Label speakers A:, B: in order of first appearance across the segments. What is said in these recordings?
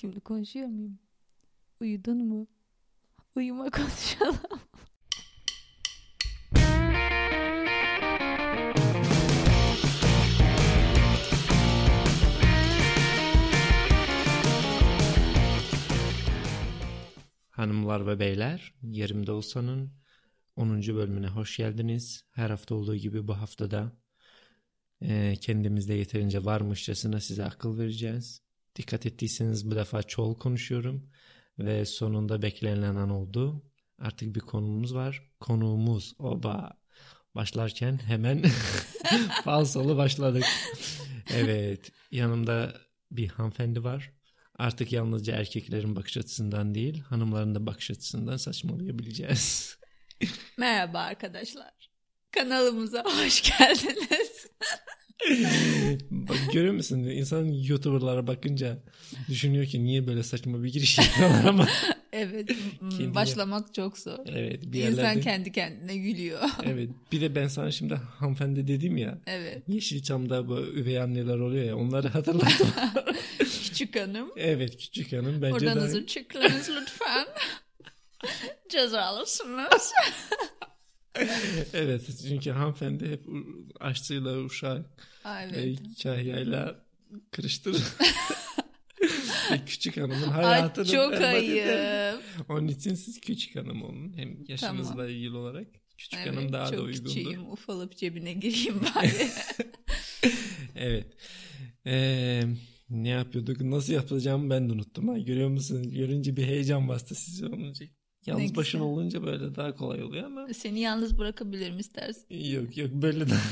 A: Şimdi konuşuyor muyum? Uyudun mu? Uyuma konuşalım.
B: Hanımlar ve beyler, yerimde olsanın 10. bölümüne hoş geldiniz. Her hafta olduğu gibi bu haftada eee kendimizde yeterince varmışçasına size akıl vereceğiz. Dikkat ettiyseniz bu defa çoğul konuşuyorum ve sonunda beklenilen an oldu. Artık bir konuğumuz var. Konuğumuz oba başlarken hemen falsolu başladık. Evet, yanımda bir hanımefendi var. Artık yalnızca erkeklerin bakış açısından değil, hanımların da bakış açısından saçmalayabileceğiz.
A: Merhaba arkadaşlar. Kanalımıza hoş geldiniz.
B: Bak görüyor musun? İnsan YouTuber'lara bakınca düşünüyor ki niye böyle saçma bir giriş yapıyorlar ama.
A: Evet, m-
B: Kendine-
A: başlamak çok zor.
B: Evet bir
A: İnsan
B: yerlerde.
A: kendi kendine gülüyor.
B: Evet bir de ben sana şimdi hanımefendi dedim ya.
A: Evet,
B: Yeşilçam'da bu üvey anneler oluyor ya onları hatırladım.
A: küçük hanım.
B: evet küçük hanım bence
A: Oradan
B: daha-
A: hızlı çıkınız lütfen. Cezalısınız.
B: Evet çünkü hanımefendi hep u- aşçıyla uşak
A: Ay,
B: ve
A: Evet.
B: hikayeyle kırıştırır. Ve küçük hanımın
A: Ay
B: hayatını
A: çok
B: berbat eder.
A: ayıp.
B: Onun için siz küçük hanım olun. Hem yaşınızla
A: Tamam.
B: ilgili olarak küçük
A: Evet,
B: hanım daha da
A: çok
B: uygundur.
A: küçüğüm ufalıp cebine gireyim bari.
B: Evet. Ee, ne yapıyorduk? Nasıl yapılacağımı ben de unuttum. Ha. Görüyor musunuz? Görünce bir heyecan bastı size olunca. Yalnız
A: güzel.
B: başına olunca böyle daha kolay oluyor ama
A: Seni yalnız bırakabilirim istersen.
B: yok yok böyle daha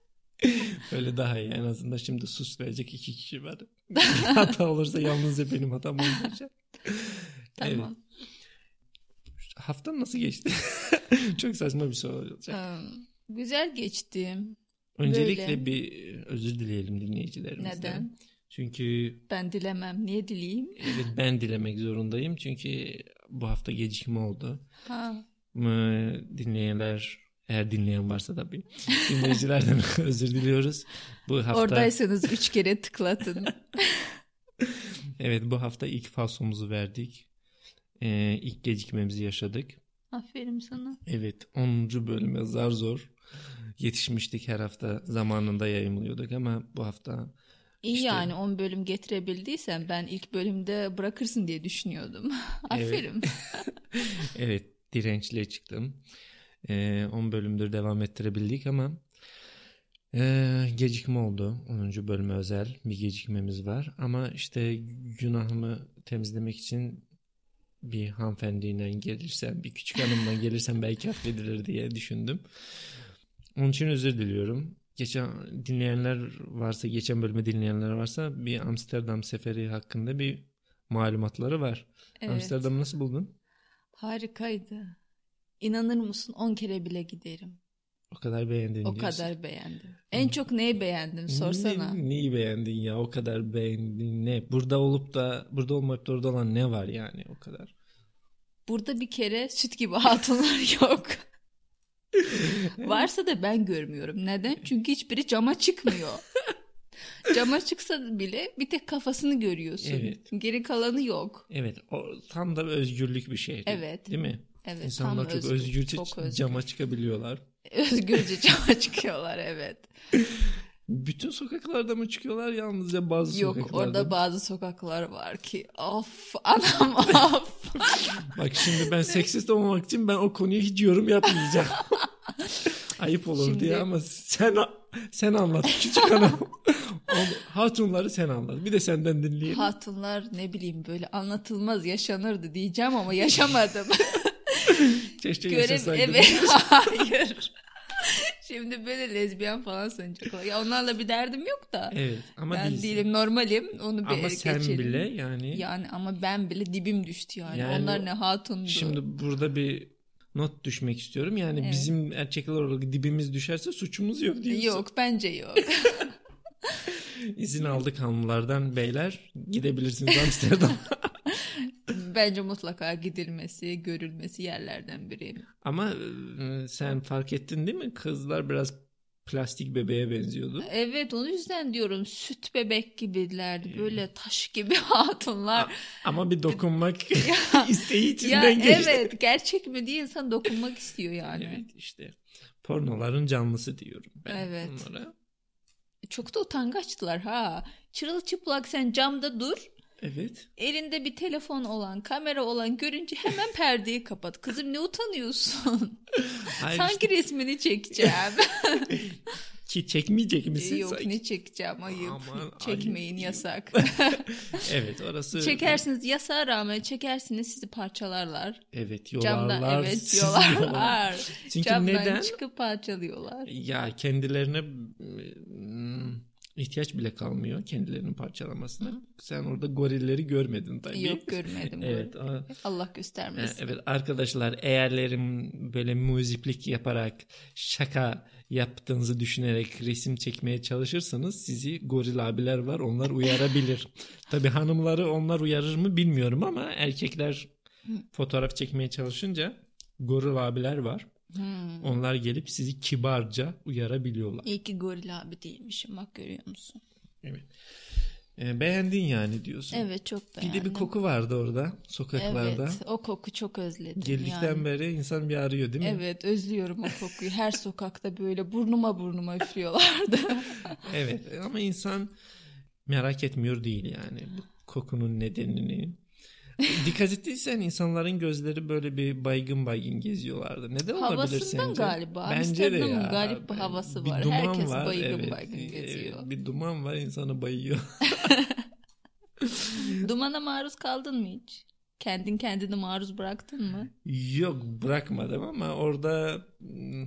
B: böyle daha iyi. En azından şimdi sus verecek iki kişi var. Bir hata olursa yalnızca benim hatam olmayacak.
A: Tamam.
B: Haftan nasıl geçti? Çok saçma bir soru olacak.
A: Ee, Güzel geçti.
B: Öncelikle
A: Böyle.
B: bir e, özür dileyelim dinleyicilerimizden.
A: Neden?
B: Çünkü
A: Ben dilemem. Niye dileyim?
B: evet ben dilemek zorundayım çünkü bu hafta gecikme oldu.
A: Ha.
B: Mı dinleyenler eğer dinleyen varsa tabii dinleyicilerden özür diliyoruz. Bu hafta
A: Oradaysanız üç kere tıklatın.
B: evet bu hafta ilk falsomuzu verdik. Ee, ilk gecikmemizi yaşadık.
A: Aferin sana.
B: Evet 10. bölüme zar zor yetişmiştik her hafta zamanında yayınlıyorduk ama bu hafta
A: İyi
B: İşte-
A: yani 10 bölüm getirebildiysen ben ilk bölümde bırakırsın diye düşünüyordum. Aferin.
B: Evet dirençle çıktım. Ee, 10 bölümdür devam ettirebildik ama ee, gecikme oldu. 10. bölüme özel bir gecikmemiz var. Ama işte günahımı temizlemek için bir hanımefendiyle gelirsem, bir küçük hanımla gelirsem belki affedilir diye düşündüm. Onun için özür diliyorum. Geçen dinleyenler varsa, geçen bölümü dinleyenler varsa bir Amsterdam seferi hakkında bir malumatları var.
A: Evet.
B: Amsterdam'ı nasıl buldun?
A: Harikaydı. İnanır mısın 10 kere bile giderim.
B: O kadar beğendin
A: O
B: diyorsun.
A: kadar beğendim. En çok neyi beğendim sorsana.
B: Ne, neyi beğendin ya? O kadar beğendin ne? Burada olup da burada olmayıp da orada olan ne var yani o kadar?
A: Burada bir kere süt gibi hatunlar yok. Varsa da ben görmüyorum. Neden? Çünkü hiçbiri cama çıkmıyor. cama çıksa bile bir tek kafasını görüyorsun.
B: Evet.
A: Geri kalanı yok.
B: Evet, o tam da özgürlük bir şey.
A: Evet.
B: Değil mi?
A: Evet,
B: İnsanlar
A: tam
B: çok
A: özgür,
B: özgürce
A: çok özgür.
B: cama çıkabiliyorlar.
A: Özgürce cama çıkıyorlar evet.
B: Bütün sokaklarda mı çıkıyorlar yalnızca bazı
A: Yok
B: sokaklarda?
A: orada bazı sokaklar var ki of anam of.
B: Bak şimdi ben seksist olmamak için ben o konuya hiç yorum yapmayacağım. Ayıp olur
A: Şimdi-
B: diye ama sen sen anlat küçük hanım. O Hatunları sen anlat. Bir de senden dinleyelim.
A: Hatunlar ne bileyim böyle anlatılmaz yaşanırdı diyeceğim ama yaşamadım.
B: Keşke
A: Görev
B: yaşasaydım.
A: evet hayır. Şimdi böyle lezbiyen falan sanacaklar. Ya onlarla bir derdim yok da.
B: Evet E, ama
A: ben
B: değilsin.
A: değilim normalim. Onu bir
B: Ama
A: ele
B: sen
A: geçelim.
B: bile yani,
A: Yani ama ben bile dibim düştü yani.
B: Yani
A: Onlar
B: o-
A: ne hatundu.
B: şimdi burada bir not düşmek istiyorum. Yani
A: Evet.
B: bizim erkekler olarak dibimiz düşerse suçumuz yok diyorsun.
A: Yok bence yok.
B: İzin aldık hanımlardan beyler gidebilirsiniz Amsterdam.
A: bence mutlaka gidilmesi, görülmesi yerlerden biri.
B: ama e, sen fark ettin değil mi? Kızlar biraz plastik bebeğe benziyordu.
A: Evet onun yüzden diyorum süt bebek
B: Hmm.
A: gibilerdi. Böyle taş gibi hatunlar.
B: Ama bir dokunmak
A: Ya-
B: isteği
A: ya
B: içinden geçti.
A: evet gerçek mi diye insan dokunmak istiyor yani.
B: Evet işte. Pornoların canlısı diyorum ben
A: Evet.
B: bunlara.
A: Çok da utangaçtılar ha. Çırılçıplak sen camda dur.
B: Evet.
A: Elinde bir telefon olan, kamera olan görünce hemen perdeyi kapat. Kızım ne utanıyorsun?
B: Hayır
A: Sanki
B: işte
A: resmini çekeceğim.
B: ki çekmeyecek misin?
A: Yok
B: sanki?
A: ne çekeceğim ayıp.
B: Aman,
A: Çekmeyin
B: ayıp.
A: yasak.
B: Evet orası.
A: Çekersiniz yasağa rağmen çekersiniz sizi parçalarlar.
B: Evet
A: Camdan
B: yolarlar.
A: evet
B: sizi yolarlar.
A: diyorlar.
B: Çünkü
A: Camdan
B: neden?
A: çıkıp parçalıyorlar.
B: Ya kendilerine mm, ihtiyaç bile kalmıyor kendilerinin parçalamasına. Sen orada gorilleri görmedin tabii.
A: Yok görmedim.
B: Evet.
A: bunu.
B: a-
A: Allah
B: e,
A: göstermesin.
B: Evet arkadaşlar eğerlerim böyle muziplik yaparak şaka yaptığınızı düşünerek resim çekmeye çalışırsanız sizi goril abiler var onlar uyarabilir. Tabii hanımları onlar uyarır mı bilmiyorum ama erkekler fotoğraf çekmeye çalışınca goril abiler var.
A: Hmm.
B: Onlar gelip sizi kibarca uyarabiliyorlar.
A: İyi ki goril abi değilmişim bak görüyor musun?
B: Evet. E, beğendin yani diyorsun.
A: Evet çok
B: Bir
A: beğendim.
B: de bir koku vardı orada sokaklarda.
A: Evet o koku çok özledim.
B: Geldikten
A: yani.
B: beri insan bir arıyor değil mi?
A: Evet özlüyorum o kokuyu. Her sokakta böyle burnuma burnuma üflüyorlardı.
B: Evet ama insan merak etmiyor değil yani bu kokunun nedenini. Dikkat ettiysen insanların gözleri böyle bir baygın baygın geziyorlardı. Neden olabilir sence?
A: Havasından galiba. Amsterdam'ın garip bir havası var. Herkes baygın baygın geziyor.
B: Bir duman var insanı bayıyor.
A: Dumana maruz kaldın mı hiç? Kendin kendini maruz bıraktın mı?
B: Yok bırakmadım ama orada mm,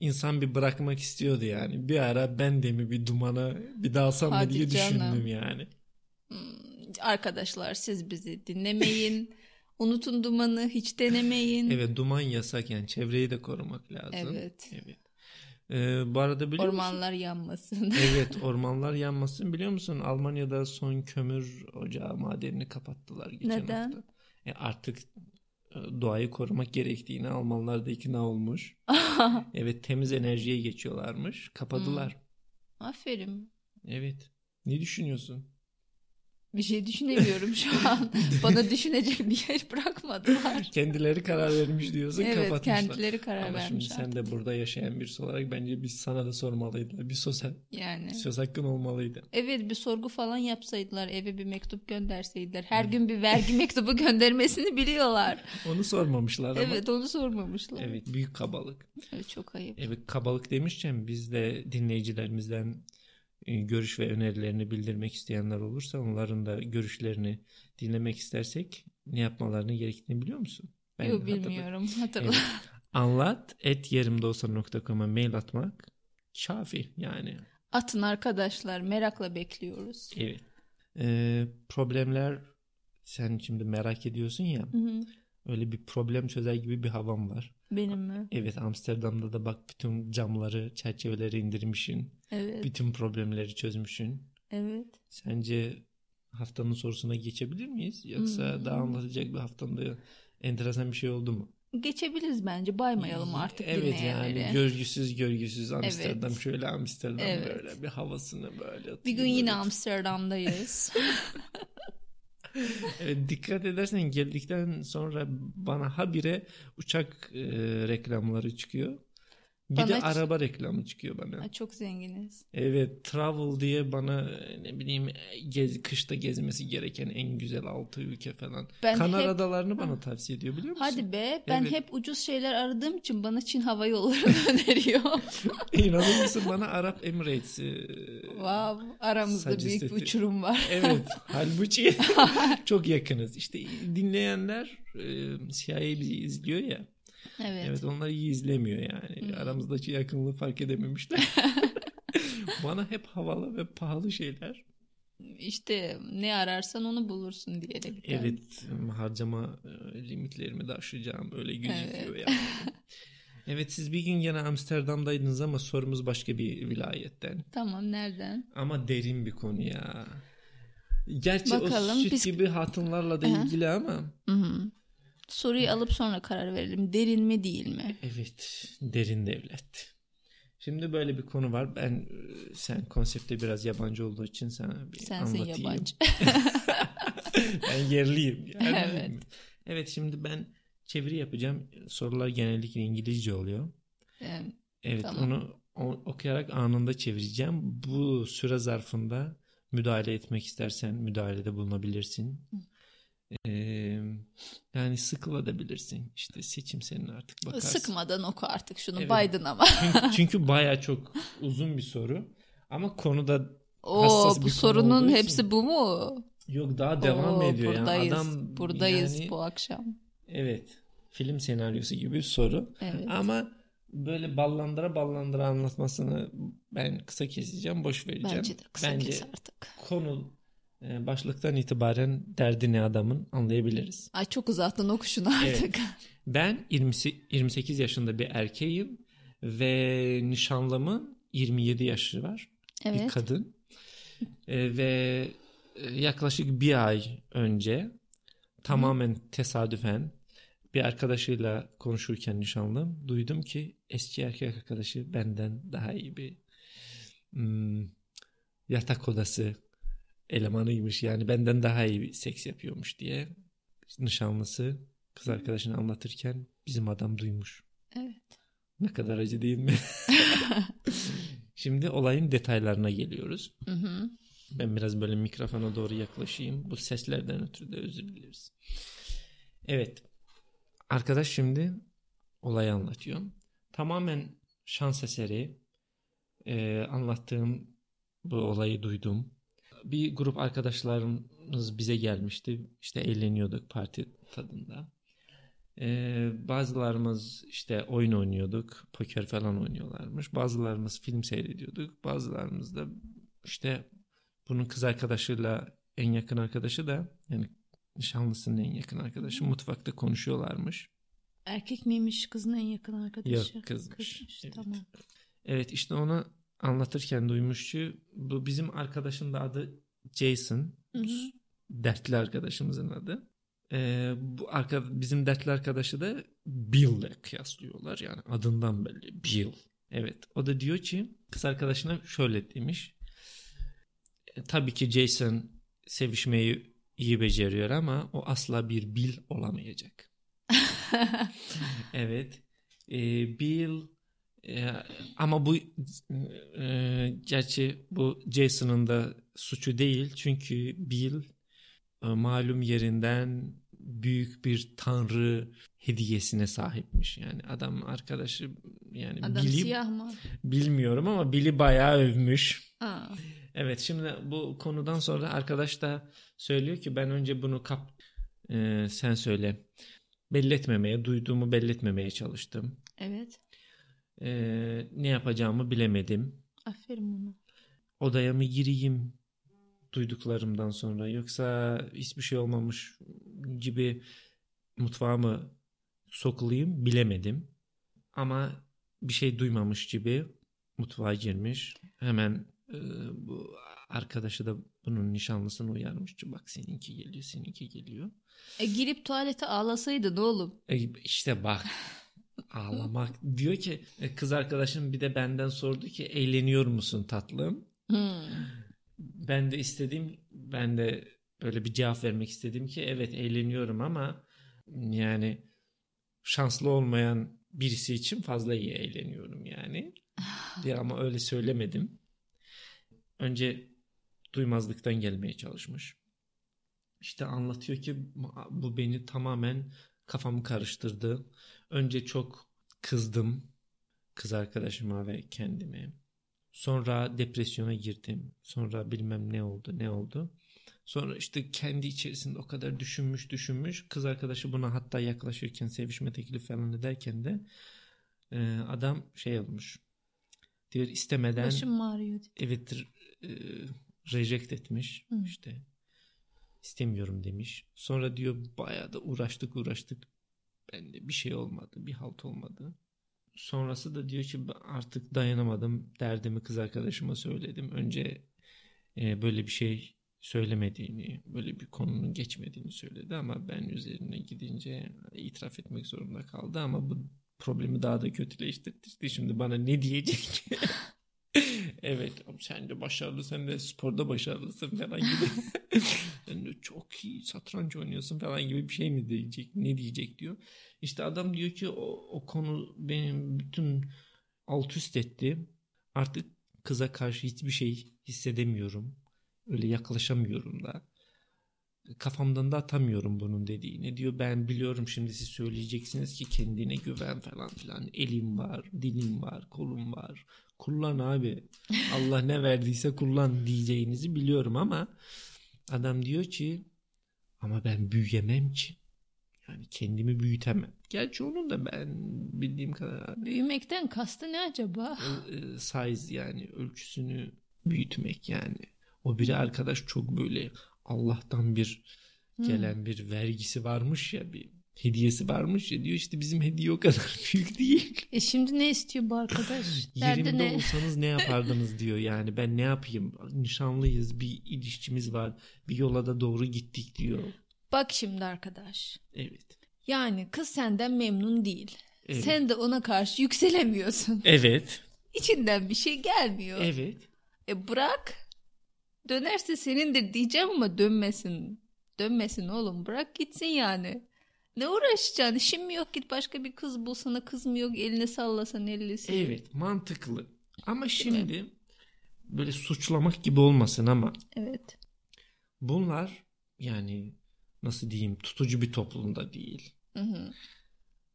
B: insan bir bırakmak istiyordu yani. Bir ara ben de mi bir dumana bir dalsam mı
A: Hadi
B: diye
A: canım.
B: düşündüm yani.
A: Hmm, Arkadaşlar siz bizi dinlemeyin. Unutun dumanı hiç denemeyin.
B: Evet duman yasak yani çevreyi de korumak lazım.
A: Evet.
B: Evet. Ee, bu arada biliyor musun?
A: Ormanlar yanmasın.
B: Evet ormanlar yanmasın biliyor musun? Almanya'da son kömür ocağı madenini kapattılar geçen
A: Neden?
B: hafta. E, artık e, doğayı korumak gerektiğini Almanlar da ikna olmuş. Evet temiz enerjiye geçiyorlarmış. Kapadılar.
A: Aferin.
B: Evet. Ne düşünüyorsun?
A: Bir şey düşünemiyorum şu an. Bana düşünecek bir yer bırakmadılar.
B: Kendileri karar vermiş diyorsun
A: evet
B: kapatmışlar.
A: kendileri karar
B: Ama şimdi
A: vermiş.
B: sen
A: artık.
B: de burada yaşayan birisi olarak bence biz sana da sormalıydılar. Bir söz,
A: Yani.
B: söz hakkın olmalıydı.
A: Evet bir sorgu falan yapsaydılar eve bir mektup gönderseydiler her gün bir vergi mektubu göndermesini biliyorlar.
B: Onu sormamışlar ama.
A: evet onu sormamışlar.
B: Evet büyük kabalık.
A: Evet, çok ayıp.
B: Evet kabalık demişken biz de dinleyicilerimizden e, görüş ve önerilerini bildirmek isteyenler olursa onların da görüşlerini dinlemek istersek ne yapmalarını gerektiğini biliyor musun?
A: Yok
B: hatırlat-
A: bilmiyorum hatırla.
B: Evet. Anlat et mail atmak kafi yani.
A: Atın arkadaşlar merakla bekliyoruz.
B: Evet. Ee, problemler sen şimdi merak ediyorsun ya
A: Hı hı.
B: öyle bir problem çözer gibi bir havam var.
A: Benim mi?
B: Evet Amsterdam'da da bak bütün camları çerçeveleri indirmişsin.
A: Evet.
B: Bütün problemleri çözmüşsün.
A: Evet.
B: Sence haftanın sorusuna geçebilir miyiz? Yoksa
A: Hmm.
B: daha anlatacak bir haftanda enteresan bir şey oldu mu?
A: Geçebiliriz bence baymayalım artık
B: Evet
A: dinleyenleri.
B: yani görgüsüz görgüsüz Amsterdam
A: Evet.
B: şöyle Amsterdam
A: Evet.
B: böyle bir havasını böyle.
A: bir gün yine Amsterdam'dayız.
B: Evet, dikkat edersen geldikten sonra bana habire uçak e, reklamları çıkıyor. Bir
A: Bana
B: de
A: ç-
B: araba reklamı çıkıyor bana.
A: Ay, çok zenginiz.
B: Evet travel diye bana e, ne bileyim e, gez, kışta gezmesi gereken en güzel altı ülke falan.
A: Ben hep-
B: Kanaradalarını bana tavsiye ediyor biliyor musun?
A: Hadi be ben
B: Evet.
A: hep ucuz şeyler aradığım için bana Çin hava yollarını öneriyor.
B: İnanır mısın bana Arap e, Emirates'i.
A: Wow, aramızda
B: Sadece
A: büyük bir
B: istedi-
A: uçurum var.
B: Evet halbuki çok yakınız. İşte dinleyenler e, CIA bizi izliyor ya.
A: Evet.
B: Evet onlar iyi izlemiyor yani.
A: Hmm.
B: Aramızdaki yakınlığı fark edememişler. Bana hep havalı ve pahalı şeyler.
A: İşte ne ararsan onu bulursun diyerek.
B: Evet harcama e, limitlerimi de aşacağım öyle gözüküyor yani. Evet siz bir gün gene Amsterdam'daydınız ama sorumuz başka bir vilayetten.
A: Tamam nereden?
B: Ama derin bir konu ya. Gerçi
A: Bakalım,
B: o süt
A: biz-
B: gibi hatunlarla da
A: Aha.
B: ilgili ama.
A: Hı-hı. Soruyu alıp sonra karar verelim. Derin mi değil mi?
B: Evet derin devlet. Şimdi böyle bir konu var. Ben e, sen konsepte biraz yabancı olduğu için sana bir
A: Sensin
B: anlatayım.
A: yabancı.
B: ben yerliyim. yani.
A: Evet.
B: Evet şimdi ben çeviri yapacağım. Sorular genellikle İngilizce oluyor.
A: Ee,
B: Evet
A: Tamam.
B: onu o- okuyarak anında çevireceğim. Bu süre zarfında müdahale etmek istersen müdahalede bulunabilirsin.
A: Hı.
B: Ee, yani sıkılabilirsin. İşte seçim senin artık bakarsın.
A: Sıkmadan oku artık şunu
B: Evet.
A: Biden ama.
B: Çünkü, çünkü baya çok uzun bir soru. Ama konuda
A: Oo
B: Hassas bir
A: bu
B: konu
A: sorunun
B: olduğu için-
A: hepsi bu mu?
B: yok daha devam
A: Oo,
B: ediyor. yani.
A: buradayız.
B: Adam
A: buradayız
B: yani-
A: bu akşam.
B: Evet. Film senaryosu gibi bir soru.
A: Evet.
B: Ama böyle ballandıra ballandıra anlatmasını ben kısa keseceğim, boş vereceğim.
A: Bence de kısa
B: Bence
A: kes artık.
B: konu e, başlıktan itibaren derdi ne adamın anlayabiliriz.
A: Ay çok uzattın oku şunu artık.
B: Ben 20, 28 yaşında bir erkeğim ve nişanlımın 27 yaşı var. Bir
A: Evet.
B: kadın. E, ve e, yaklaşık bir ay önce tamamen tesadüfen bir arkadaşıyla konuşurken nişanlım duydum ki eski erkek arkadaşı benden daha iyi bir hmm, yatak odası elemanıymış. Yani benden daha iyi bir seks yapıyormuş diye nişanlısı kız arkadaşını anlatırken bizim adam duymuş.
A: Evet.
B: Ne kadar acı değil mi? Şimdi olayın detaylarına geliyoruz.
A: Hı hı.
B: Ben biraz böyle mikrofona doğru yaklaşayım. Bu seslerden ötürü de özür dileriz. Evet. Arkadaş şimdi olayı anlatıyor. Tamamen şans eseri e, anlattığım bu olayı duydum. Bir grup arkadaşlarımız bize gelmişti. İşte eğleniyorduk parti tadında. E, bazılarımız işte oyun oynuyorduk. Poker falan oynuyorlarmış. Bazılarımız film seyrediyorduk. Bazılarımız da işte bunun kız arkadaşıyla en yakın arkadaşı da yani nişanlısının en yakın arkadaşı mutfakta konuşuyorlarmış.
A: Erkek miymiş kızın en yakın arkadaşı?
B: Yok, kızmış. Evet.
A: Tamam.
B: Evet işte onu anlatırken duymuş ki bu bizim arkadaşın da adı Jason.
A: Hı hı.
B: Dertli arkadaşımızın adı. Ee, bu arka, bizim dertli arkadaşı da Bill'le kıyaslıyorlar. Yani adından belli Bill. Evet o da diyor ki kız arkadaşına şöyle demiş. E, tabii ki Jason sevişmeyi iyi beceriyor ama o asla bir Bill olamayacak. Evet. E, Bill e, ama bu e, gerçi bu Jason'ın da suçu değil çünkü Bill e, malum yerinden büyük bir tanrı hediyesine sahipmiş. Yani adam arkadaşı yani
A: Adam
B: Bill'i
A: siyah mı?
B: bilmiyorum ama Bill'i bayağı övmüş.
A: Aa.
B: Evet şimdi bu konudan sonra arkadaş da söylüyor ki ben önce bunu kap Ee, sen söyle. Belletmemeye, duyduğumu belletmemeye çalıştım.
A: Evet.
B: Ee, ne yapacağımı bilemedim.
A: Aferin ona.
B: Odaya mı gireyim duyduklarımdan sonra yoksa hiçbir şey olmamış gibi mutfağa mı sokulayım bilemedim. Ama bir şey duymamış gibi mutfağa girmiş. Hemen e, bu arkadaşı da bunun nişanlısını uyarmış. ki, Bak seninki geliyor, seninki geliyor.
A: E, girip tuvalete ağlasaydı ne oğlum?
B: E, İşte bak ağlamak diyor ki e, kız arkadaşım bir de benden sordu ki eğleniyor musun tatlım?
A: Hmm.
B: Ben de istediğim ben de böyle bir cevap vermek istedim ki evet eğleniyorum ama yani şanslı olmayan birisi için fazla iyi eğleniyorum yani. diye ama öyle söylemedim. Önce duymazlıktan gelmeye çalışmış. İşte anlatıyor ki bu beni tamamen kafamı karıştırdı. Önce çok kızdım kız arkadaşıma ve kendime. Sonra depresyona girdim. Sonra bilmem ne oldu, ne oldu. Sonra işte kendi içerisinde o kadar düşünmüş düşünmüş. Kız arkadaşı buna hatta yaklaşırken sevişme teklifi falan ederken de e, adam şey olmuş. Diyor istemeden
A: Başım mı ağrıyor? diye.
B: evet r- e, reject etmiş
A: Hı.
B: işte istemiyorum demiş. Sonra diyor bayağı da uğraştık uğraştık. Bende bir şey olmadı, bir halt olmadı. Sonrası da diyor ki "Ben artık dayanamadım. Derdimi kız arkadaşıma söyledim. Önce e, böyle bir şey söylemediğini, böyle bir konunun geçmediğini söyledi ama ben üzerine gidince itiraf etmek zorunda kaldı ama bu Problemi daha da kötüleştirdi. Şimdi bana ne diyecek? evet sen de başarılısın sen de sporda başarılısın falan gibi. Sen de çok iyi satranç oynuyorsun falan gibi bir şey mi diyecek? Ne diyecek diyor. İşte adam diyor ki o, o konu benim bütün alt üst etti. Artık kıza karşı hiçbir şey hissedemiyorum. Öyle yaklaşamıyorum da. Kafamdan da atamıyorum bunun dediğini. Diyor ben biliyorum şimdi siz söyleyeceksiniz ki kendine güven falan filan. Elim var, dilim var, kolum var. Kullan abi. Allah ne verdiyse kullan diyeceğinizi biliyorum ama adam diyor ki ama ben büyüyemem ki. Yani kendimi büyütemem. Gerçi onun da ben bildiğim kadar
C: Büyümekten kastı ne acaba?
B: e, e, size yani ölçüsünü büyütmek yani. O biri arkadaş çok böyle Allah'tan bir gelen bir vergisi varmış ya bir hediyesi varmış ya diyor işte bizim hediye o kadar büyük değil.
C: E şimdi ne istiyor bu arkadaş? Derdi
B: Yerimde
C: ne?
B: olsanız ne yapardınız diyor yani ben ne yapayım nişanlıyız bir ilişkimiz var bir yola da doğru gittik diyor.
C: Bak şimdi arkadaş.
B: Evet.
C: Yani kız senden memnun değil.
B: Evet.
C: Sen de ona karşı yükselemiyorsun.
B: Evet.
C: İçinden bir şey gelmiyor.
B: Evet.
C: E bırak. Dönerse senindir diyeceğim ama dönmesin. Dönmesin oğlum bırak gitsin yani. Ne uğraşacaksın? İşin mi yok git başka bir kız bulsana kız mı yok elini sallasan ellisi.
A: E,
B: Evet. Mantıklı. Ama şimdi böyle suçlamak gibi olmasın ama
C: Evet.
B: Bunlar yani nasıl diyeyim tutucu bir toplumda değil.
C: Hı hı.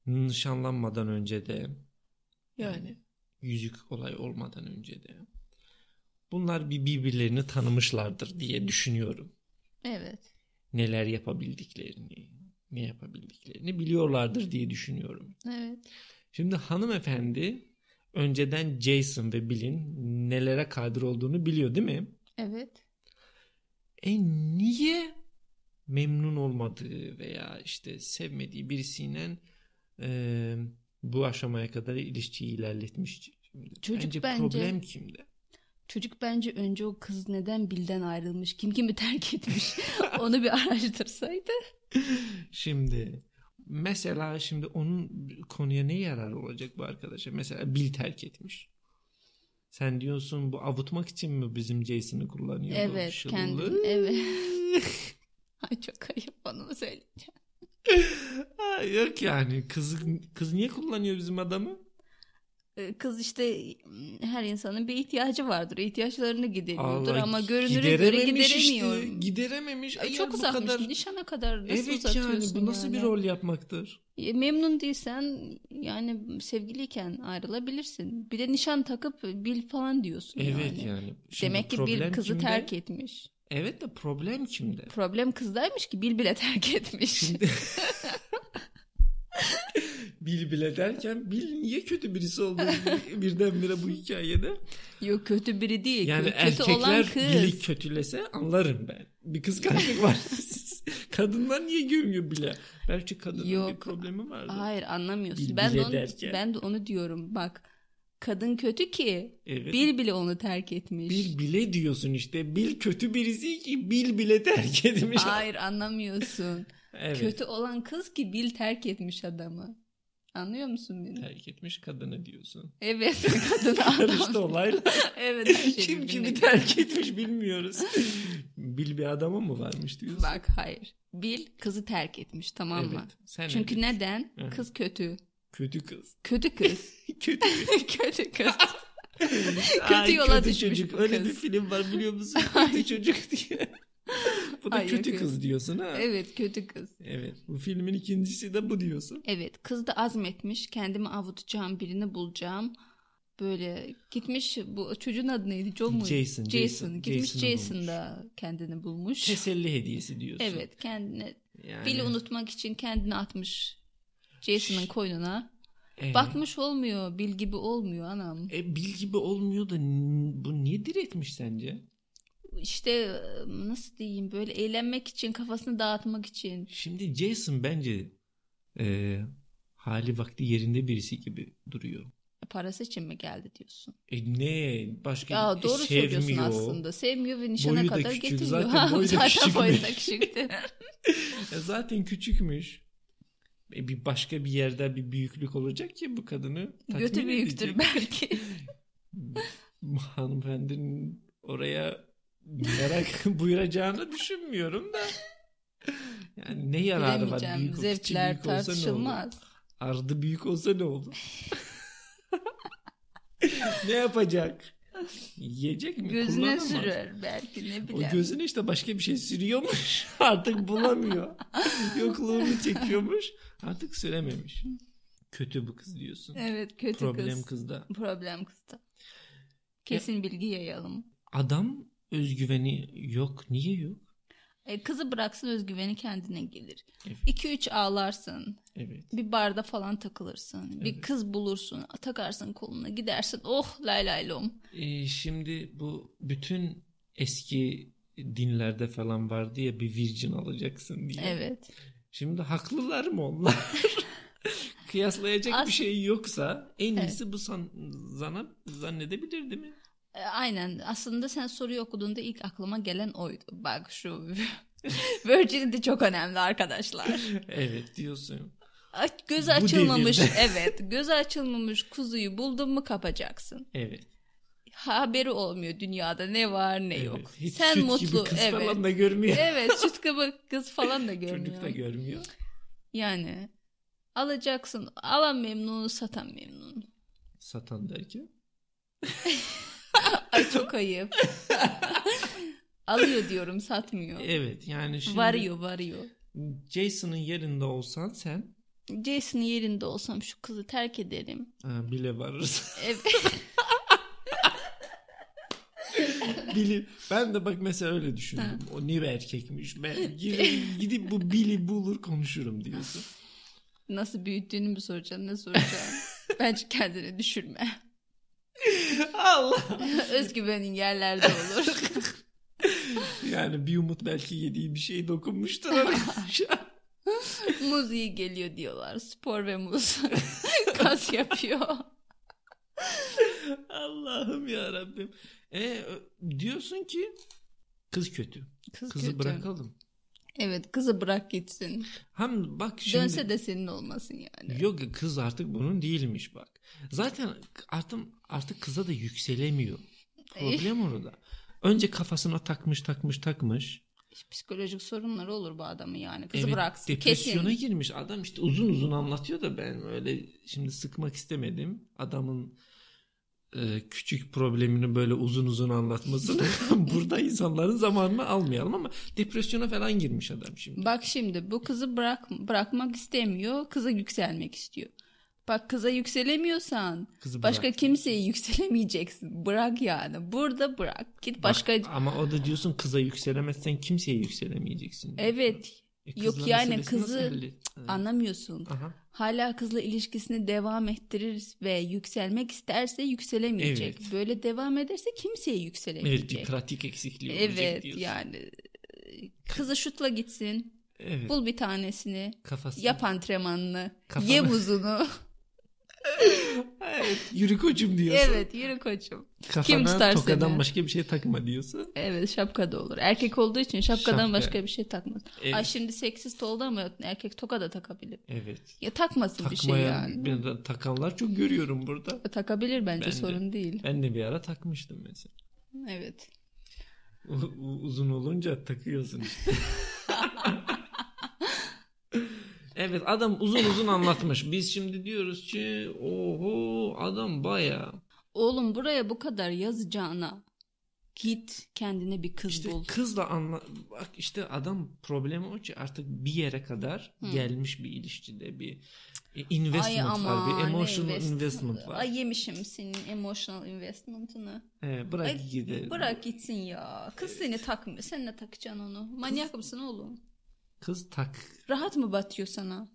B: Nişanlanmadan önce de
C: Yani.
B: yüzük olay olmadan önce de bunlar bir birbirlerini tanımışlardır diye düşünüyorum.
C: Evet.
B: Neler yapabildiklerini, ne yapabildiklerini biliyorlardır diye düşünüyorum.
C: Evet.
B: Şimdi hanımefendi önceden Jason ve Bill'in nelere kadir olduğunu biliyor değil mi?
C: Evet.
B: E niye memnun olmadığı veya işte sevmediği birisiyle e, bu aşamaya kadar ilişkiyi ilerletmiş? Şimdi
A: Çocuk bence-
B: problem kimde?
A: Çocuk bence önce o kız neden Bill'den ayrılmış? Kim kimi terk etmiş? Onu bir araştırsaydı.
B: Şimdi mesela şimdi onun konuya ne yarar olacak bu arkadaşa? Mesela Bill terk etmiş. Sen diyorsun bu avutmak için mi bizim Jason'ı kullanıyor? bu
A: Evet.
B: şıllı?
A: Kendi, evet. Ay çok ayıp onu söyleyeceğim.
B: Ha, Yok yani kız, kız niye kullanıyor bizim adamı?
A: Ee, Kız işte mm, her insanın bir ihtiyacı vardır. İhtiyaçlarını gideriyordur
B: Allah,
A: ama
B: gi-
A: görünüre göre
B: giderememiş işte,
A: gideremiyor.
B: giderememiş.
A: Ay,
B: Eğer
A: çok
B: bu
A: uzakmış.
B: kadar-
A: Nişana kadar nasıl
B: Evet yani
A: uzatıyorsun
B: bu nasıl
A: yani?
B: bir rol yapmaktır?
A: E, Memnun değilsen yani sevgiliyken ayrılabilirsin. Bir de nişan takıp bil falan diyorsun
B: Evet
A: yani.
B: yani. Şimdi
A: Demek ki
B: problem
A: bir kızı
B: kimde?
A: terk etmiş.
B: Evet de problem kimde?
A: Problem kızdaymış ki bil bile terk etmiş.
B: Bil bile derken Bil niye kötü birisi oldu birdenbire bu hikayede?
A: Yok kötü biri değil.
B: Yani
A: E, kötü olan
B: erkekler
A: kız.
B: Bil'i kötülese anlarım ben. Bir kıskançlık var. Kadınlar niye gömüyor bile? Belki kadının bir
A: Yok.
B: problemi vardı.
A: Hayır anlamıyorsun.
B: Bil
A: ben
B: bile
A: de onu,
B: derken.
A: ben de onu diyorum bak. Kadın kötü ki
B: Evet.
A: bil bile onu terk etmiş.
B: Bil bile diyorsun işte. Bil kötü birisi ki Bil bile terk edilmiş.
A: Hayır anlamıyorsun.
B: Evet.
A: Kötü olan kız ki bil terk etmiş adamı. Anlıyor musun beni?
B: terk etmiş kadını diyorsun.
A: Evet kadın
B: Karıştı
A: adam.
B: olayla.
A: evet her şey
B: Kim kimi
A: birbirine-
B: terk etmiş bilmiyoruz. Bil bir adama mı varmış diyorsun.
A: Bak hayır. Bil kızı terk etmiş tamam mı?
B: Evet, sen
A: Çünkü
B: evet.
A: neden?
B: Hı hı.
A: Kız kötü.
B: Kötü kız.
A: Kötü kız.
B: Kötü.
A: kötü kız.
B: Ay,
A: Kötü yola düşmüş
B: çocuk.
A: bu
B: Öyle
A: kız.
B: bir film var biliyor musun? kötü çocuk diye. Bu da
A: Ay,
B: kötü
A: yok,
B: kız diyorsun ha. Evet.
A: Evet kötü kız.
B: Bu filmin ikincisi de bu diyorsun.
A: Evet kız da azmetmiş kendimi avutacağım birini bulacağım. Böyle gitmiş bu çocuğun adı neydi? John muydu?
B: Jason, Jason,
A: Gitmiş
B: Jason'ı
A: Jason da kendini bulmuş.
B: Teselli hediyesi diyorsun.
A: Evet kendine
B: Yani,
A: Bill'i unutmak için kendini atmış Jason'ın koynuna.
B: e,
A: Bakmış olmuyor Bill gibi olmuyor anam.
B: E, bil gibi olmuyor da n- bu niye diretmiş sence?
A: İşte e, nasıl diyeyim böyle eğlenmek için kafasını dağıtmak için.
B: Şimdi Jason bence e, hali vakti yerinde birisi gibi duruyor.
A: E, Parası için mi geldi diyorsun?
B: E ne başka
A: Ya doğru
B: e,
A: söylüyorsun
B: sevmiyor.
A: aslında. Sevmiyor ve nişana
B: Boyu da
A: kadar
B: küçük.
A: getiriyor.
B: Zaten boyu da
A: Zaten
B: küçükmüş.
A: boyu da küçüktü.
B: E, zaten küçükmüş. E, bir başka bir yerde bir büyüklük olacak ki bu kadını tatmin
A: Götü büyüktür
B: edecek.
A: belki.
B: Bu Hanımefendinin oraya merak buyuracağını düşünmüyorum da. Yani ne yararı var
D: Bilemeyeceğim.
B: büyük
D: Zevkler
B: Zevkler büyük olsa ne olur?
D: tartışılmaz.
B: Ardı büyük olsa ne olur? ne yapacak? Yiyecek mi?
A: Gözüne
B: E, Kullanamaz.
A: sürer belki ne
B: O
A: bileyim.
B: gözüne işte başka bir şey sürüyormuş. Artık bulamıyor. Yokluğunu çekiyormuş. Artık sürememiş. Kötü bu kız diyorsun.
A: Evet kötü
B: Problem
A: kız.
B: kızda.
A: Problem kızda. Kesin bilgi yayalım.
B: Adam özgüveni yok. Niye yok?
A: E, kızı bıraksın özgüveni kendine gelir.
B: Evet.
A: 2-3 ağlarsın.
B: Evet.
A: Bir barda falan takılırsın. Bir
B: Evet.
A: kız bulursun. Takarsın koluna gidersin. Oh lay lay lom.
B: Ee, şimdi bu bütün eski dinlerde falan vardı ya bir virgin alacaksın diye.
A: Evet.
B: Şimdi haklılar mı onlar? Kıyaslayacak
A: As-
B: bir şey yoksa en iyisi bu san zanat zannedebilir değil mi?
A: E, aynen. Aslında sen soruyu okuduğunda ilk aklıma gelen oydu. Bak şu virginity çok önemli arkadaşlar.
B: Evet diyorsun.
A: Aç- Gözü
B: Bu
A: açılmamış
B: devirde.
A: evet gözü açılmamış kuzuyu buldun mu kapacaksın.
B: Evet.
A: Haberi olmuyor dünyada ne var ne
B: evet.
A: yok.
B: Hiç
A: Sen
B: süt
A: mutlu
B: gibi kız
A: evet.
B: falan da görmüyor.
A: Evet süt gibi kız falan da görmüyor.
B: Çocuk da görmüyor.
A: yani alacaksın alan memnunu satan memnun.
B: Satan derken.
A: Ay çok ayıp. Alıyor diyorum satmıyor.
B: Evet yani E, şimdi
A: Varıyor varıyor.
B: Jason'ın yerinde olsan sen
A: Jason'ın yerinde olsam şu kızı terk ederim.
B: ha, e, bile varırsın.
A: Evet.
B: Bili. Ben de bak mesela öyle düşündüm. O niye erkekmiş? Ben gidip, gidip bu Bili bulur konuşurum diyorsun.
A: Nasıl büyüttüğünü mü soracağım ne soracağım. Bence kendini düşürme.
B: Allah.
A: Özgüvenin yerlerde olur.
B: Yani bir umut belki yediği bir şey dokunmuştur arkadaşlar.
A: muz iyi geliyor diyorlar. Spor ve muz. Kas yapıyor.
B: Allah'ım ya Rabbim. E ö- diyorsun ki kız kötü.
A: Kız
B: Kızı
A: kötü.
B: bırakalım.
A: Evet kızı bırak gitsin.
B: Hem bak şimdi
A: Dönse de senin olmasın yani.
B: yok kız artık bunun değilmiş bak. Zaten artık artık kıza da yükselemiyor. Problem orada. Önce kafasına takmış takmış takmış.
A: Psikolojik sorunları olur bu adamın yani. Kızı
B: Evet,
A: bıraksın
B: Depresyona
A: kesin.
B: girmiş adam işte uzun uzun anlatıyor da ben öyle şimdi sıkmak istemedim. Adamın e, küçük problemini böyle uzun uzun anlatmasını burada insanların zamanını almayalım ama depresyona falan girmiş adam şimdi.
A: Bak şimdi bu kızı bırak bırakmak istemiyor. Kıza yükselmek istiyor. Bak kıza yükselemiyorsan
B: Kızı
A: başka
B: bırak.
A: kimseye yükselemeyeceksin. Bırak yani. Burada bırak. Git başka
B: Bak, ama o da diyorsun kıza yükselemezsen kimseye yükselemeyeceksin. diyorsun.
A: Evet.
B: E,
A: yok
B: kızla
A: yani
B: meselesini nasıl
A: kızı
B: hallet- Ha,
A: Anlamıyorsun.
B: Aha.
A: Hala kızla ilişkisini devam ettirir ve yükselmek isterse yükselemeyecek.
B: Evet.
A: Böyle devam ederse kimseye
B: Evet bir
A: yükselemeyecek.
B: pratik eksikliği olacak
A: Evet,
B: diyorsun.
A: yani e, kızı şutla gitsin.
B: Evet.
A: Bul bir tanesini.
B: Kafası.
A: Yap antrenmanını.
B: Kafana-
A: Ye muzunu.
B: Evet, yürü koçum diyorsun.
A: evet yürü koçum.
B: Kafana
A: Kim tutar
B: tokadan
A: seni?
B: başka bir şey takma diyorsun.
A: Evet şapka da olur. Erkek olduğu için şapkadan
B: Şapka.
A: başka bir şey takmaz.
B: Evet.
A: Ay şimdi seksist oldu ama erkek toka da takabilir.
B: evet.
A: Ya takmasın bir şey
B: Takmayan,
A: yani.
B: ben de takanlar çok görüyorum burada.
A: Takabilir bence
B: Ben de.
A: sorun değil.
B: Ben de bir ara takmıştım mesela.
A: Evet.
B: U- u- uzun olunca takıyorsun işte. evet adam uzun uzun anlatmış. Biz şimdi diyoruz ki oho adam baya.
A: Oğlum buraya bu kadar yazacağına git kendine bir kız
B: İşte
A: bul.
B: kızla anla bak işte adam problemi o ki artık bir yere kadar gelmiş bir ilişkide bir e, investment var bir
A: ne
B: emotional
A: invest-
B: investment var.
A: Ay yemişim senin emotional investment'ını.
B: He, bırak
A: Ay,
B: gidelim.
A: Bırak gitsin ya. Kız seni takmıyor. Sen ne takacaksın onu? Manyak mısın oğlum?
B: Kız tak.
A: Rahat mı batıyor sana?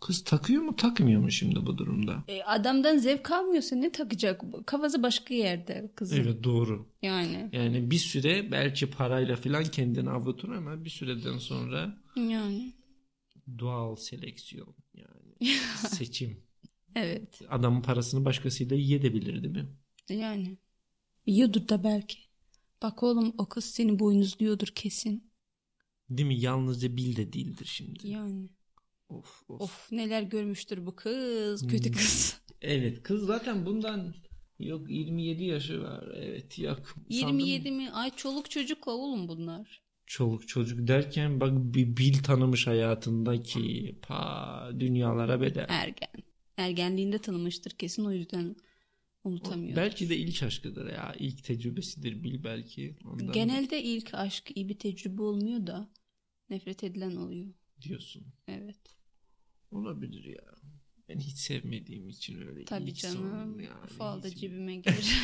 B: Kız takıyor mu takmıyor mu şimdi bu durumda?
A: E, adamdan zevk almıyorsa ne takacak? Kafası başka yerde kızın.
B: Evet doğru.
A: Yani.
B: Yani bir süre belki parayla falan kendini avutur ama bir süreden sonra
A: Yani.
B: doğal seleksiyon yani seçim.
A: Evet.
B: Adamın parasını başkasıyla yedebilir değil mi?
A: Yani. Yiyordur da belki. Bak oğlum o kız seni boynuzluyordur kesin.
B: Değil mi? Yalnızca bil de değildir şimdi.
A: Yani.
B: Of, of.
A: Of neler görmüştür bu kız. Kötü
B: Hmm.
A: kız.
B: Evet kız zaten bundan yok 27 yaşı var. Evet yok.
A: 27
B: Sandım.
A: mi? Ay çoluk çocukla oğlum bunlar.
B: Çoluk çocuk derken bak bir bil tanımış hayatındaki pa dünyalara bedel.
A: Ergen. Ergenliğinde tanımıştır kesin o yüzden unutamıyor.
B: Belki de ilk aşkıdır ya. ilk tecrübesidir bil belki. Ondan
A: Genelde ilk aşk iyi bir tecrübe olmuyor da nefret edilen oluyor.
B: diyorsun.
A: Evet.
B: Olabilir ya. Ben hiç sevmediğim için öyle.
A: Tabii
B: ilk sonum
A: canım.
B: yani.
A: Falda
B: Hiç-
A: cebime gelir.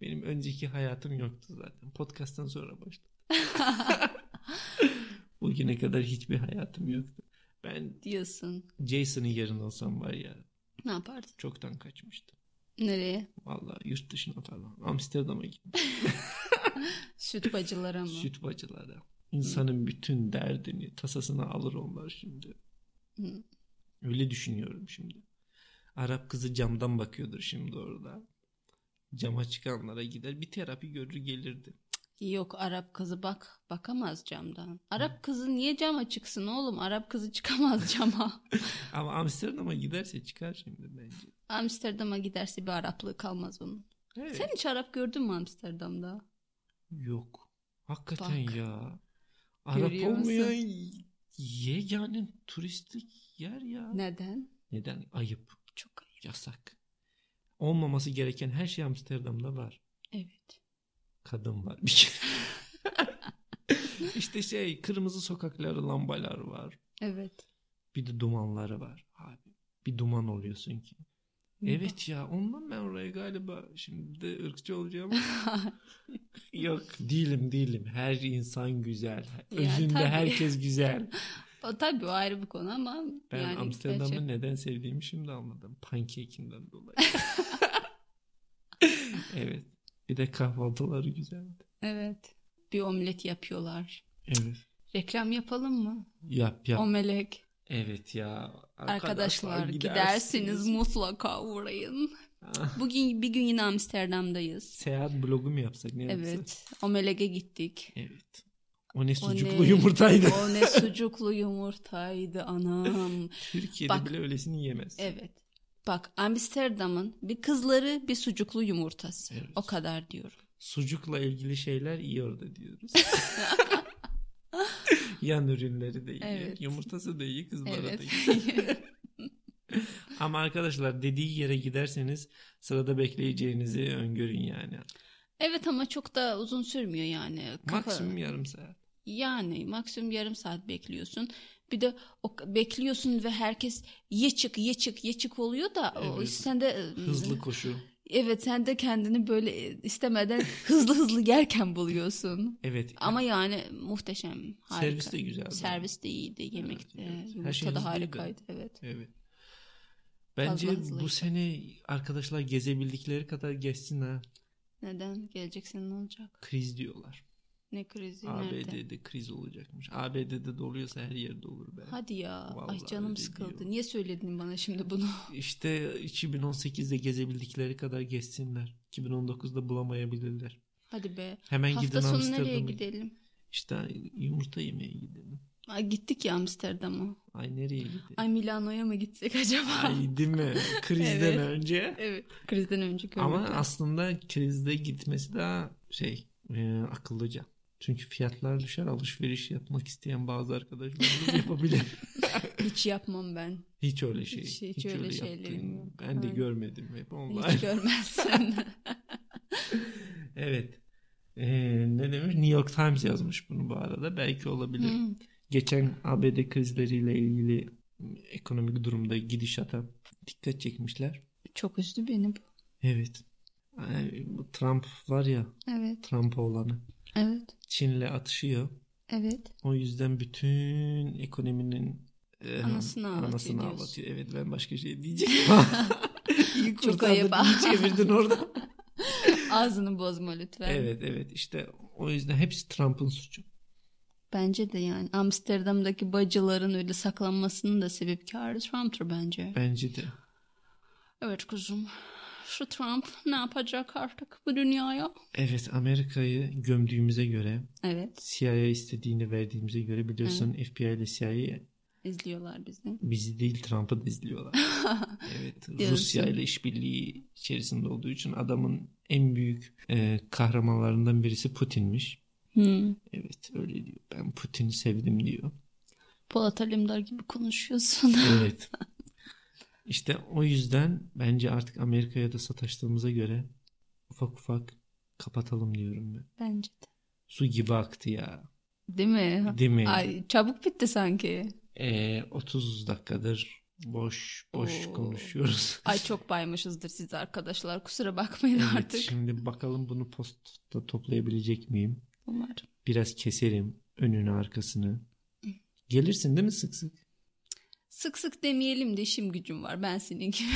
B: Benim önceki hayatım yoktu zaten. Podcast'tan sonra başladı. Bugüne kadar hiçbir hayatım yoktu. Ben
A: diyorsun.
B: Jason'ın yerinde olsam var ya
A: Ne yapardın?
B: çoktan kaçmıştım.
A: Nereye?
B: Vallahi yurt dışına falan. Amsterdam'a gittim.
A: Süt bacılara mı?
B: Süt bacılara. İnsanın bütün derdini, tasasını alır onlar şimdi.
A: Hı.
B: Öyle düşünüyorum şimdi. Arap kızı camdan bakıyordur şimdi orada. Cama çıkanlara gider. Bir terapi görür gelirdi.
A: Yok Arap kızı bak. Bakamaz camdan. Arap kızı niye cama çıksın oğlum? Arap kızı çıkamaz cama.
B: Ama Amsterdam'a giderse çıkar şimdi bence.
A: Amsterdam'a giderse bir Araplığı kalmaz onun.
B: Evet.
A: Sen hiç Arap gördün mü Amsterdam'da?
B: Yok. Hakikaten
A: Bak.
B: ya. Arap
A: Görüyor musun?
B: olmayan yegane turistik yer ya.
A: Neden?
B: Neden? Ayıp.
A: Çok ayıp.
B: Yasak. Olmaması gereken her şey Amsterdam'da var.
A: Evet.
B: Kadın var bir kere. işte şey kırmızı sokakları lambalar var.
A: Evet.
B: Bir de dumanları var. Abi bir duman oluyorsun ki. Evet ya ondan ben oraya galiba şimdi de ırkçı olacağım. ama- Yok değilim değilim. Her insan güzel.
A: Ya,
B: Özünde
A: tabii.
B: herkes güzel.
A: o, tabii o ayrı bir konu ama
B: Ben
A: yani
B: Amsterdam'ı
A: gerçek-
B: neden sevdiğimi şimdi anladım. Pancake'inden dolayı. evet. Bir de kahvaltıları güzeldi.
A: Evet. Bir omlet yapıyorlar.
B: Evet.
A: Reklam yapalım mı?
B: Yap yap.
A: Omelek.
B: evet ya.
A: Arkadaşlar gidersiniz mutlaka uğrayın.
B: Ah,
A: Bugün bir gün yine Amsterdam'dayız.
B: Seyahat blogu mu yapsak ne yapsak?
A: Evet. Omelege gittik.
B: Evet. O ne
A: O ne-
B: sucuklu yumurtaydı.
A: O ne sucuklu yumurtaydı anam.
B: Türkiye'de
A: Bak.
B: bile öylesini yemez.
A: Evet. Bak Amsterdam'ın bir kızları bir sucuklu yumurtası.
B: Evet.
A: O kadar diyorum.
B: Sucukla ilgili şeyler iyi orada diyoruz. Yan ürünleri de iyi.
A: Evet.
B: Yumurtası da iyi, kızları da
A: Evet.
B: iyi. Ama arkadaşlar dediği yere giderseniz sırada bekleyeceğinizi öngörün yani.
A: evet ama çok da uzun sürmüyor yani. Kafa-
B: Maksimum yarım saat.
A: Yani maksimum yarım saat bekliyorsun. Bir de o bekliyorsun ve herkes ye çık ye çık ye çık oluyor da o
B: Evet.
A: sen de e,
B: Hızlı koşu.
A: Evet sen de kendini böyle e, istemeden hızlı hızlı yerken buluyorsun.
B: Evet.
A: Ama yani muhteşem, harika.
B: Servis de güzeldi.
A: Servis de iyiydi, yemek de,
B: evet. Her
A: yumurta
B: şey hızlıydı.
A: da harikaydı. Evet.
B: Evet. Bence
A: Fazla hızlıydı.
B: bu sene arkadaşlar gezebildikleri kadar gezsin ha.
A: Neden geleceksin ne olacak?
B: Kriz diyorlar.
A: Ne krizi nerede?
B: ABD'de kriz olacakmış. ABD'de de oluyorsa her yerde olur be.
A: Hadi ya. Ay
B: Vallahi
A: canım
B: öyle
A: sıkıldı.
B: diyor.
A: Niye söyledin bana şimdi bunu?
B: İşte 2018'de gezebildikleri kadar gezsinler. 2019'da bulamayabilirler.
A: Hadi be.
B: Hemen gidin
A: Hafta sonu nereye
B: Amsterdam'a.
A: gidelim?
B: İşte yumurta yemeye gidelim.
A: Ay gittik ya Amsterdam'a.
B: Ay nereye gidelim?
A: Ay Milano'ya mı gitsek acaba?
B: Ay değil mi? Krizden
A: Evet.
B: önce.
A: Evet. Krizden önce gördük.
B: Ama aslında krizde gitmesi daha şey e, akıllıca. Çünkü fiyatlar düşer alışveriş yapmak isteyen bazı arkadaşlarımız yapabilir.
A: Hiç yapmam ben.
B: Hiç öyle şey.
A: Hiç- hiç öyle
B: yaptığım
A: şeylerim yok.
B: Ben de
A: Aynen.
B: görmedim hep online.
A: Hiç görmezsin.
B: evet. Ee, ne demiş? New York Times yazmış bunu bu arada. Belki olabilir.
A: Hmm.
B: Geçen ABD krizleriyle ilgili ekonomik durumda gidişata dikkat çekmişler.
A: Çok üzdü beni bu.
B: Evet. Ay, bu Trump var ya
A: Evet.
B: Trump olanı.
A: Evet.
B: Çin'le atışıyor.
A: Evet.
B: O yüzden bütün ekonominin e,
A: Anasını ağlatıyor
B: anasını
A: diyorsun.
B: ağlatıyor. Evet ben başka şey diyeceğim. İyi
A: Çok
B: kurtardın,
A: ayıp.
B: iyi çevirdin orada.
A: Ağzını bozma lütfen.
B: evet evet işte o yüzden hepsi Trump'ın suçu.
A: Bence de yani Amsterdam'daki bacıların öyle saklanmasının da sebepkarı Trump'tır bence.
B: Bence de.
A: Evet kuzum. Şu Trump ne yapacak artık bu dünyaya?
B: Evet Amerika'yı gömdüğümüze göre
A: Evet.
B: CIA istediğini verdiğimize göre biliyorsun FBI ile CIA
A: İzliyorlar bizi.
B: Bizi değil Trump'ı da izliyorlar. evet
A: Diyorsun.
B: Rusya ile işbirliği içerisinde olduğu için adamın en büyük e, kahramanlarından birisi Putin'miş.
A: Hmm.
B: Evet öyle diyor. Ben Putin'i sevdim diyor.
A: Polat Alemdar gibi konuşuyorsun.
B: Evet. İşte o yüzden bence artık Amerika'ya da sataştığımıza göre ufak ufak kapatalım diyorum ben.
A: Bence de.
B: Su gibi aktı ya.
A: Değil mi?
B: Değil mi?
A: Ay çabuk bitti sanki.
B: Ee, 30 dakikadır boş boş
A: Oo.
B: konuşuyoruz.
A: Ay çok baymışızdır siz arkadaşlar. Kusura bakmayın
B: Evet,
A: artık.
B: Şimdi bakalım bunu postta toplayabilecek miyim?
A: Umarım.
B: Biraz keserim önünü arkasını. Gelirsin değil mi sık sık?
A: Sık sık demeyelim de işim gücüm var. Ben senin gibi.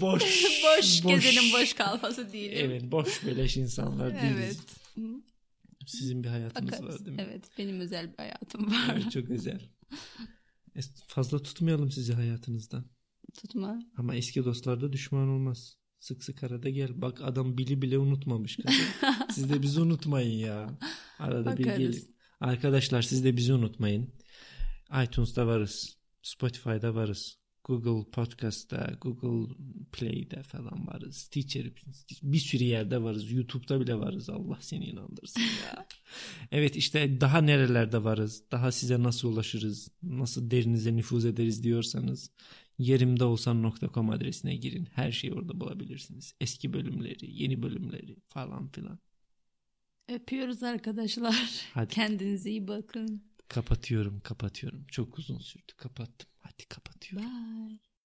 B: boş.
A: boş, gezenin boş kalfası değilim.
B: Evet boş beleş insanlar değiliz.
A: Evet. Hı,
B: Sizin bir hayatınız var
A: Bakarız.
B: değil mi?
A: Evet benim özel bir hayatım var.
B: Evet, çok özel. Es- Fazla tutmayalım sizi hayatınızdan.
A: Tutma.
B: Ama eski dostlarda düşman olmaz. Sık sık arada gel. Bak adam bili bile unutmamış. kadın. siz de bizi unutmayın ya. Arada bir
A: Bakarız.
B: gelin. Arkadaşlar siz de bizi unutmayın. iTunes'da varız. Spotify'da varız. Google Podcast'ta, Google Play'de falan varız. Stitcher, bir sürü yerde varız. YouTube'da bile varız. Allah seni inandırsın ya. evet işte daha nerelerde varız? Daha size nasıl ulaşırız? Nasıl derinize nüfuz ederiz diyorsanız yerimdeolsan.com adresine girin. Her şeyi orada bulabilirsiniz. Eski bölümleri, yeni bölümleri falan filan.
A: Öpüyoruz arkadaşlar.
B: Hadi.
A: Kendinize iyi bakın.
B: Kapatıyorum, kapatıyorum. Çok uzun sürdü. Kapattım. Hadi kapatıyorum.
A: Bye.